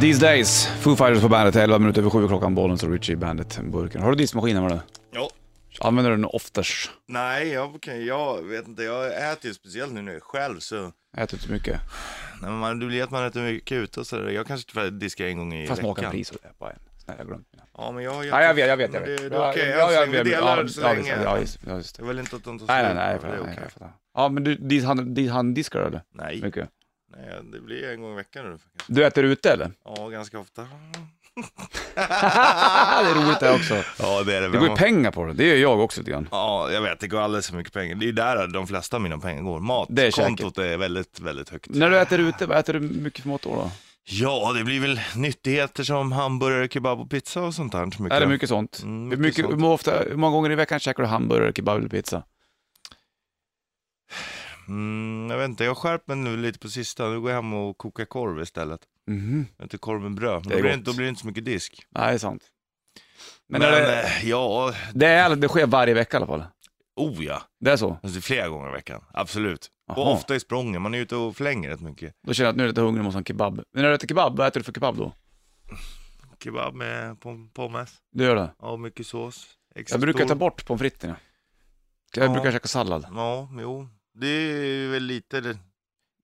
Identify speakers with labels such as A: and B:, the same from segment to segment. A: These days, Foo Fighters på bandet, 11 minuter över 7 klockan, bollen så Richie i bandet, burken. Har du diskmaskin hemma nu?
B: Ja.
A: Använder du den oftast?
B: Nej, jag, okej, jag vet inte. Jag äter ju speciellt nu när jag är själv så.
A: Äter inte så mycket.
B: Nej, men man, det blir att man äter mycket ute och sådär. Jag kanske tyvärr diskar en gång i
A: Fast
B: veckan.
A: makan pris och det, bara en. Snälla glöm det.
B: Ja, men jag har
A: Ja, jag vet, jag vet, jag
B: Men
A: vet.
B: Det, det
A: Ja,
B: är okej.
A: ja, ja,
B: än så länge. Vi
A: ja,
B: delar
A: ja,
B: så
A: ja,
B: länge.
A: visst, Ja, just, ja, just det.
B: Jag vill inte att de tar
A: Nej, nej,
B: slut.
A: nej, jag
B: Det
A: fattar, nej,
B: är okej.
A: jag fattar. Ja, men du, dis- han, dis- han diskar du eller?
B: Nej,
A: Mycket.
B: nej, det blir en gång i veckan nu. faktiskt.
A: Du äter ute eller?
B: Ja, ganska ofta.
A: det är roligt det också.
B: Ja, det är
A: Det går ju pengar på det, det gör jag också lite grann.
B: Ja, jag vet. Det går alldeles för mycket pengar. Det är där de flesta av mina pengar går.
A: Det är
B: Matkontot är, väldigt, väldigt högt.
A: När du äter ute, vad äter du mycket för mat då? då?
B: Ja, det blir väl nyttigheter som hamburgare, kebab och pizza och sånt där. Mycket.
A: Är det mycket sånt?
B: Mm,
A: hur,
B: mycket
A: mycket,
B: sånt.
A: Hur, ofta, hur många gånger i veckan käkar du hamburgare, kebab eller pizza?
B: Mm, jag vet inte, jag har skärpt mig nu lite på sista. Nu går jag hem och kokar korv istället.
A: Mhm.
B: Jag äter korv med bröd. Men
A: Det är
B: Då blir, det
A: gott.
B: inte, då blir det inte så mycket disk.
A: Nej, det är sant. Men,
B: Men,
A: är det,
B: eh, ja,
A: det, är, det sker varje vecka i alla fall?
B: oh ja.
A: Det är så?
B: Alltså, det är flera gånger i veckan, absolut.
A: Aha.
B: Och ofta i sprången, man är ute och flänger rätt mycket.
A: Då känner jag att nu är jag lite hungrig, måste ha en kebab. Men när du äter kebab, vad äter du för kebab då?
B: Kebab med pom- pommes
A: Du gör det?
B: och mycket sås. Extra
A: Jag brukar
B: stor.
A: ta bort pommes fritesen. Jag
B: Ja.
A: brukar käka sallad.
B: Ja, jo. Det är väl lite det-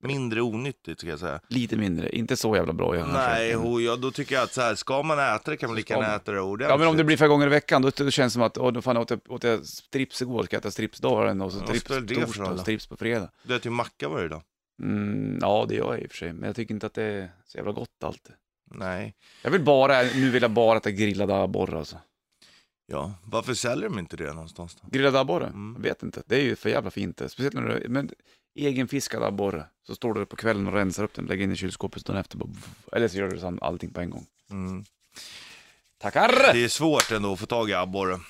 B: mindre onyttigt ska jag säga.
A: Lite mindre, inte så jävla bra. Jag
B: Nej, och jag, då tycker jag att så här, ska man äta det kan man lika
A: ska
B: gärna
A: man.
B: äta det ordentligt.
A: Ja men om det blir flera gånger i veckan, då, då känns det som att, åh, då fan, åt, jag, åt jag strips igår, ska jag äta strips dagen och så
B: Vad
A: strips
B: spelar det
A: på
B: för
A: torsdag
B: roll
A: och
B: då?
A: strips på fredag.
B: Du äter ju macka varje dag.
A: Mm, ja det gör jag i och för sig, men jag tycker inte att det är så jävla gott alltid.
B: Nej.
A: Jag vill bara, nu vill jag bara äta grillade abborre alltså.
B: Ja, varför säljer de inte det någonstans då?
A: Grillad abborre?
B: Mm.
A: Jag vet inte, det är ju för jävla fint det. Speciellt när du, men egenfiskad abborre, så står du på kvällen och rensar upp den, lägger in i kylskåpet dagen efter, bara, eller så gör du sam- allting på en gång.
B: Mm.
A: Tackar!
B: Det är svårt ändå att få tag i abborre.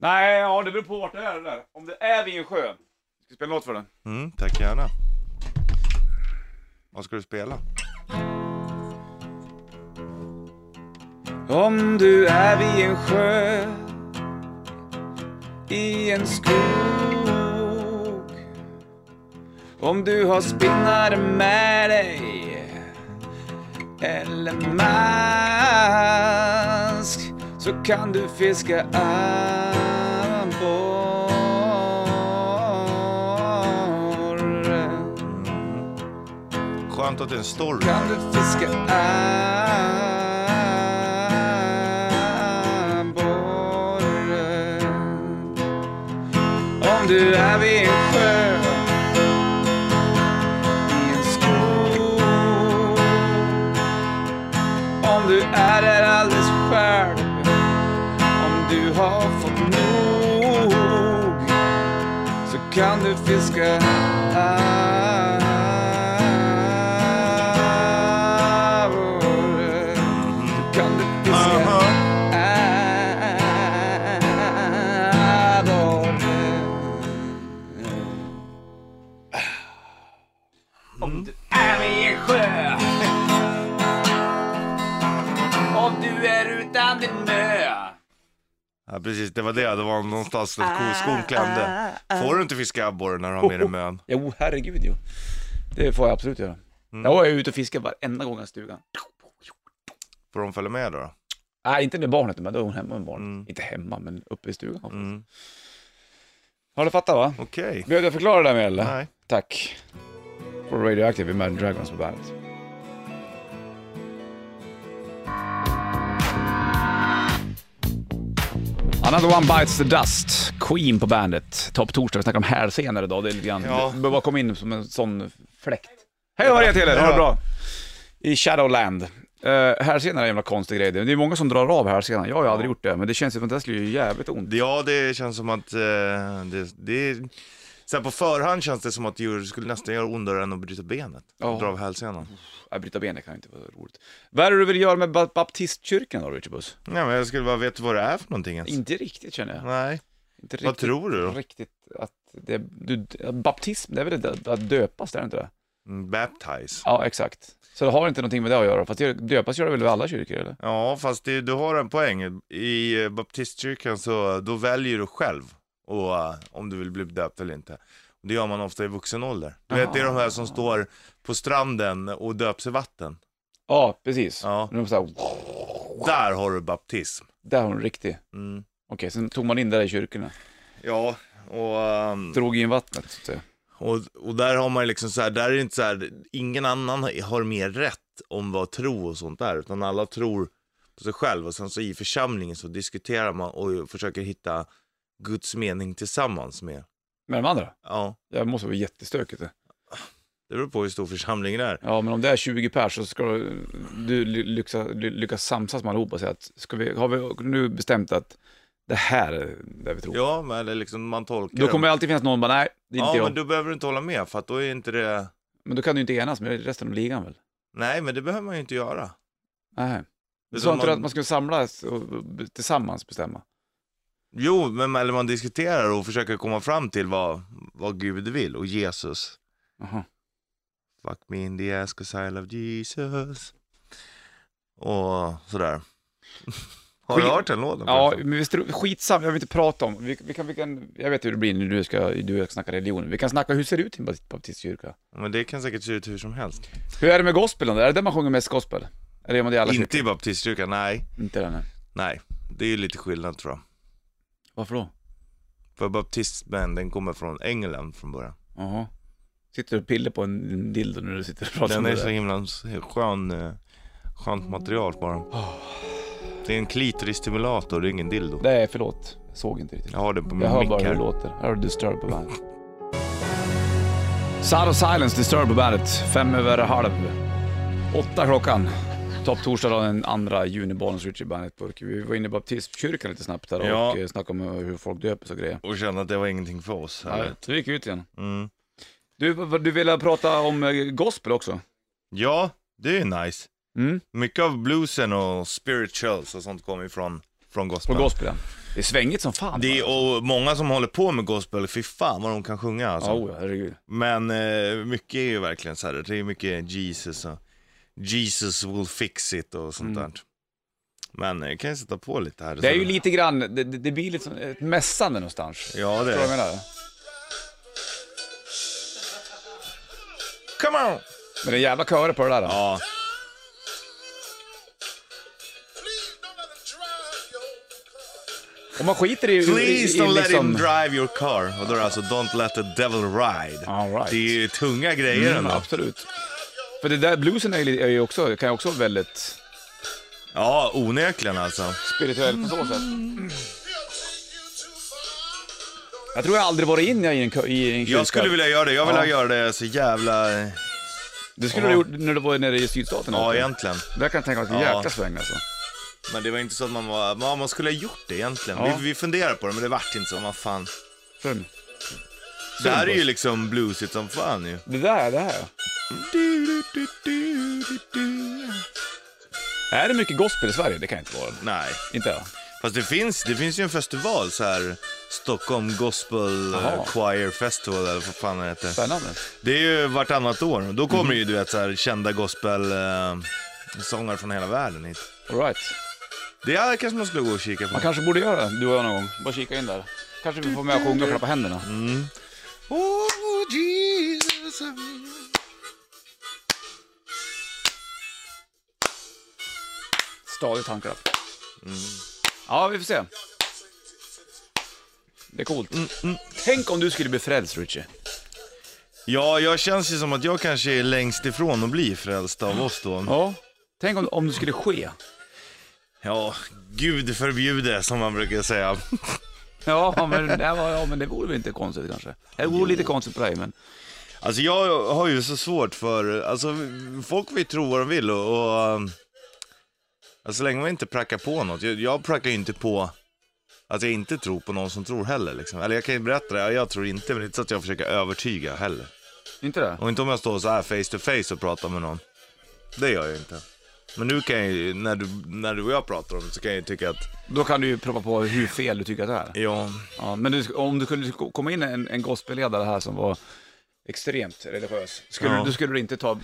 A: Nej, ja det beror på vart det är det där. Om det är vid en sjö, ska vi spela låt för den?
B: Mm, tack gärna. Vad ska du spela?
A: Om du är vid en sjö I en skog Om du har spinnare med dig Eller mask Så kan du fiska abborre
B: Skönt att det är en story.
A: kan du fiska abborre Om du är vid en sjö i en skog Om du är där alldeles själv Om du har fått nog så kan du fiska abborre. Så kan du fiska
B: Aha.
A: abborre. Om du är vid en sjö om du är utan din mö
B: Ja, precis, det var det. Det var någonstans där
A: Ah,
B: ko- skon klämde. Får du inte fiska abborre när du har med
A: Oh.
B: dig mön?
A: Jo, herregud jo. Det får jag absolut göra. Jag är ute och fiskar varenda gång i stugan.
B: Får de följa med då? då?
A: Nej, inte med barnet, men då är hon hemma med barnet.
B: Mm.
A: Inte hemma, men uppe i stugan.
B: Mm.
A: Har du fattat va?
B: Okej.
A: Behövde jag förklara det där med E? eller?
B: Nej.
A: Tack. Från Radioactive, Imagine Dragons på bandet. Another one bites the dust, Queen på bandet. Topp torsdag, vi snackar om hälsenor idag. Det är lite grann,
B: Ja.
A: det bara kom in som en sån fläkt. Hej och hörja till er, ha det bra. I Shadowland. Uh, hälsenor är en jävla konstig grej. Det är många som drar av hälsenan. Jag har ju aldrig gjort det, men det känns ju som att det skulle ju jävligt ont.
B: Ja, det känns som att eh, det, det så här på förhand känns det som att det gör- skulle nästan göra ondare än att bryta benet.
A: Ja.
B: Dra av hälsenan.
A: Att Äh, bryta benet kan ju inte vara roligt. Vad är det du vill göra med ba- baptistkyrkan då, Richard Buss?
B: Nej, men jag skulle bara veta vad det är för någonting ens.
A: Inte riktigt känner jag.
B: Nej,
A: Inte riktigt,
B: Alltså- vad tror du då?
A: Riktigt att det, du, baptism, det är väl det, att döpas, det är det inte det?
B: Mm, Baptize.
A: Ja, exakt. Så det har inte någonting med det att göra, fast det- döpas gör det väl i alla kyrkor eller?
B: Ja, fast det, du har en poäng. I eh, baptistkyrkan så då väljer du själv och, eh, om du vill bli döpt eller inte. Det gör man ofta i vuxen ålder. Du vet, det är de här som står på stranden och döps i vatten.
A: Ja, precis.
B: Ja.
A: Men de så här,
B: Där har du baptism.
A: där har hon riktig.
B: Mm.
A: Okej, sen tog man in det där i kyrkorna.
B: Ja, och, ehm,
A: Drog in vattnet. Så att säga.
B: och, och där har man ju liksom så här, där är det inte så här, ingen annan har mer rätt om vad tro och sånt där, utan alla tror på sig själv och sen så i församlingen så diskuterar man och försöker hitta Guds mening tillsammans med.
A: Men de andra?
B: Ja,
A: Det måste vara jättestökigt. det.
B: det beror på hur stor församlingen är.
A: Ja, men om det är 20 pers så ska du, du ly- lyxa, ly- lyckas samsas med allihopa och säga att ska vi, har vi nu bestämt att det här är det vi tror.
B: Ja, men eller liksom man tolkar
A: Då
B: det.
A: kommer det alltid finnas någon bara, nej, det är inte
B: Ja,
A: jag.
B: men då behöver du inte hålla med för att då är inte det...
A: Men då kan du inte enas med resten av ligan väl?
B: Nej, men det behöver man ju inte göra.
A: Nej. Du
B: Utan
A: sa inte du
B: man-
A: att man skulle samlas och b- tillsammans bestämma?
B: Jo, men eller man diskuterar och försöker komma fram till vad, vad Gud vill och Jesus.
A: Jaha.
B: Fuck me in the ass cause I love Jesus. Och sådär. Har du
A: Skit-
B: hört den låten?
A: Ja,
B: förresten?
A: men visst, skitsam, jag vill inte prata om. Vi, vi kan, vi kan, jag vet hur det blir när du ska, du och jag ska snacka religion. Vi kan snacka, hur ser det ut i en baptist- baptistkyrka?
B: Men det kan säkert se ut hur som helst.
A: Hur är det med gospelen då? Är det där man sjunger mest gospel? Eller gör man det i alla kyrkor?
B: Inte i baptistkyrkan, nej.
A: Inte den här.
B: Nej, det är ju lite skillnad tror jag.
A: Varför då?
B: För baptismen, den kommer från England från början.
A: Jaha. Sitter du och pillar på en dildo när du sitter och pratar om
B: Den
A: det
B: är så
A: där?
B: himla skön, eh, skönt material bara. Det är en klitorisstimulator, det är ingen dildo.
A: Nej, förlåt. Jag såg inte riktigt.
B: Jag har den på
A: Jag
B: min
A: hör
B: mick
A: bara hur det
B: här.
A: låter. Här har du Disturbed på bandet. Sound of Silence, Disturbed på bandet. Fem över halv. Åtta klockan. Topp torsdag då, den 2 juni, Bollnäs Richie Bandet. på Ullevi. Vi var inne i baptistkyrkan lite snabbt där
B: Ja.
A: och eh, snackade om hur folk döpes och grejer.
B: Och kände att det var ingenting för oss.
A: Ja,
B: eller?
A: så vi gick ut igen.
B: Mm.
A: Du, vad- du ville prata om eh, gospel också?
B: Ja, det är ju nice.
A: Mm,
B: Mycket av bluesen och spirituals och sånt kommer ju från, från
A: på
B: gospel.
A: gospel ja. Det är svängigt som fan.
B: Det är,
A: alltså.
B: och många som håller på med gospel, fy fan vad de kan sjunga alltså.
A: Ja, oh, herregud.
B: Men eh, mycket är ju verkligen så här, det är mycket Jesus och Jesus will fix it och sånt
A: Mm.
B: där. Men eh, jag kan ju sätta på lite här.
A: Det är ju lite grann, det, det det blir lite som ett mässande någonstans.
B: Ja, det
A: Förstår du vad
B: är
A: jag
B: det.
A: menar?
B: Come on!
A: Men det är jävla körer på det där. då.
B: Ja,
A: Om man skiter i... i-
B: please
A: i, liksom-
B: don't
A: i,
B: let him drive your car. Och då är det alltså don't let the devil ride.
A: All right.
B: Det är ju tunga grejer
A: Mm,
B: ändå.
A: absolut. För det där bluesen är ju är ju också, kan ju också vara väldigt
B: Ja, onekligen alltså.
A: spirituell på så sätt. Jag tror jag aldrig varit in i en, kö- i en kyrka.
B: Jag skulle vilja göra det, jag vill
A: Ja.
B: göra det så jävla... eh,
A: Det skulle du ha gjort när du var nere i sydstaterna.
B: Ja, egentligen.
A: Där kan jag tänka mig att det är
B: Ja.
A: jäkla sväng alltså.
B: Men det var inte så att man var... Ja, man skulle ha gjort det egentligen.
A: Ja.
B: Vi, vi funderade på det, men det vart inte så. Man fan.
A: Förstår du?
B: Det här är ju liksom bluesigt som fan ju.
A: Det där, det här. Är det mycket gospel i Sverige? Det kan inte vara.
B: Nej.
A: Inte jag.
B: Fast det finns, det finns ju en festival så här. Stockholm Gospel eh,
A: Jaha.
B: Choir Festival eller vad fan det heter.
A: Spännande.
B: Det är ju vartannat år. Då kommer ju du vet så här kända gospel... Eh, sångare från hela världen hit.
A: All right.
B: Det här kanske man skulle gå och kika på.
A: Man kanske borde göra det, du och jag någon gång. Bara kika in där. Kanske vi får med att sjunga och klappa händerna.
B: Oh Jesus.
A: Stadigt handklapp. Mm. Ja, vi får se. Det är coolt. Mm, Tänk om du skulle bli frälst, Richie.
B: Ja, jag känns ju som att jag kanske är längst ifrån att bli frälst av oss då.
A: Ja. Tänk om, om det skulle ske.
B: Ja, gud förbjude som man brukar säga.
A: Ja men, det var, ja, men det vore väl inte konstigt kanske. Det vore lite konstigt på dig, men...
B: Alltså jag har ju så svårt för, alltså folk vill tro vad de vill och, och um, alltså, så länge man inte prackar på något. Jag, jag prackar ju inte på att jag inte tror på någon som tror heller liksom. Eller jag kan ju berätta det, jag tror inte, men det är inte så att jag försöker övertyga heller.
A: Inte det?
B: Och inte om jag står så här face to face och pratar med någon. Det gör jag inte. Men nu kan jag ju, när du, när du och jag pratar om det så kan jag ju tycka att,
A: Då kan du ju prova på hur fel du tycker att det är.
B: ja,
A: Ja, men du, om du kunde ko- komma in en, en gospelledare här som var extremt religiös, skulle,
B: Ja.
A: du, då skulle du inte ta...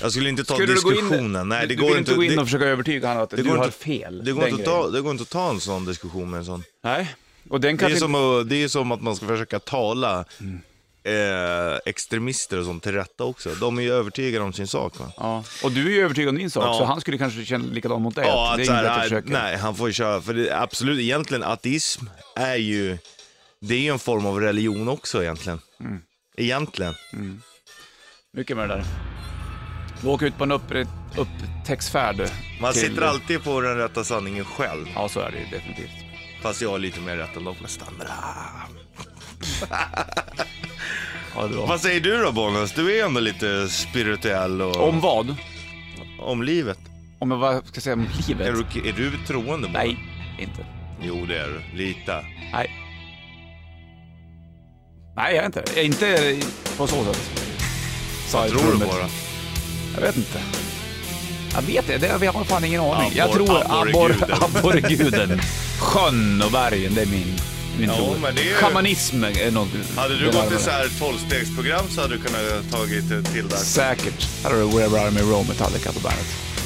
B: jag skulle inte ta
A: Skulle du gå in-
B: diskussionen. Nej, det
A: du,
B: går
A: du vill
B: inte.
A: gå in
B: det-
A: och försöka övertyga honom att du
B: går
A: har
B: inte-
A: fel.
B: Det går,
A: den
B: inte att
A: grejen.
B: ta, det går inte att ta en sån diskussion med en sån.
A: Nej, och den
B: Det är,
A: kanske Mm.
B: som att, det är som att man ska försöka tala eh, extremister och sånt till rätta också. De är ju övertygade om sin sak. Va?
A: Ja. Och du är ju övertygad om din sak,
B: Ja.
A: så han skulle kanske känna likadant mot dig.
B: Ja,
A: att det är
B: så
A: inget
B: här,
A: att
B: nej,
A: försöka.
B: Nej, han får ju köra. För det, absolut, egentligen ateism är ju, det är ju en form av religion också egentligen.
A: Mm.
B: Egentligen.
A: Mycket med det där. Du åker ut på en upp, upptäcktsfärd.
B: Man
A: till-
B: sitter alltid på den rätta sanningen själv.
A: Ja, så är det ju definitivt.
B: Fast jag är lite mer rätt än de flesta andra.
A: Ja, det är bra.
B: Vad säger du då Bonus? Du är ju ändå lite spirituell och...
A: Om vad?
B: om livet.
A: Om jag vad ska jag säga om livet?
B: Är du, är du troende? Bonus?
A: Nej, inte.
B: Jo det är du. Lita.
A: Nej. Nej, jag är inte det. Jag är Inte på så sätt. Sa jag i
B: Tror du
A: rummet.
B: bara.
A: Jag vet inte. Jag vet inte, det, vi har fan ingen aning. jag
B: Abbor-
A: tror
B: abborreguden.
A: abbor- abborreguden. Sjön och bergen, det är min, min
B: Ja,
A: tro.
B: men det är ju-
A: Schamanism är något.
B: Hade du
A: det
B: gått
A: närmare.
B: i så här tolvstegsprogram så hade du kunnat tagit till där.
A: Säkert. Här har du Wherever I'm Row, Metallica på bandet.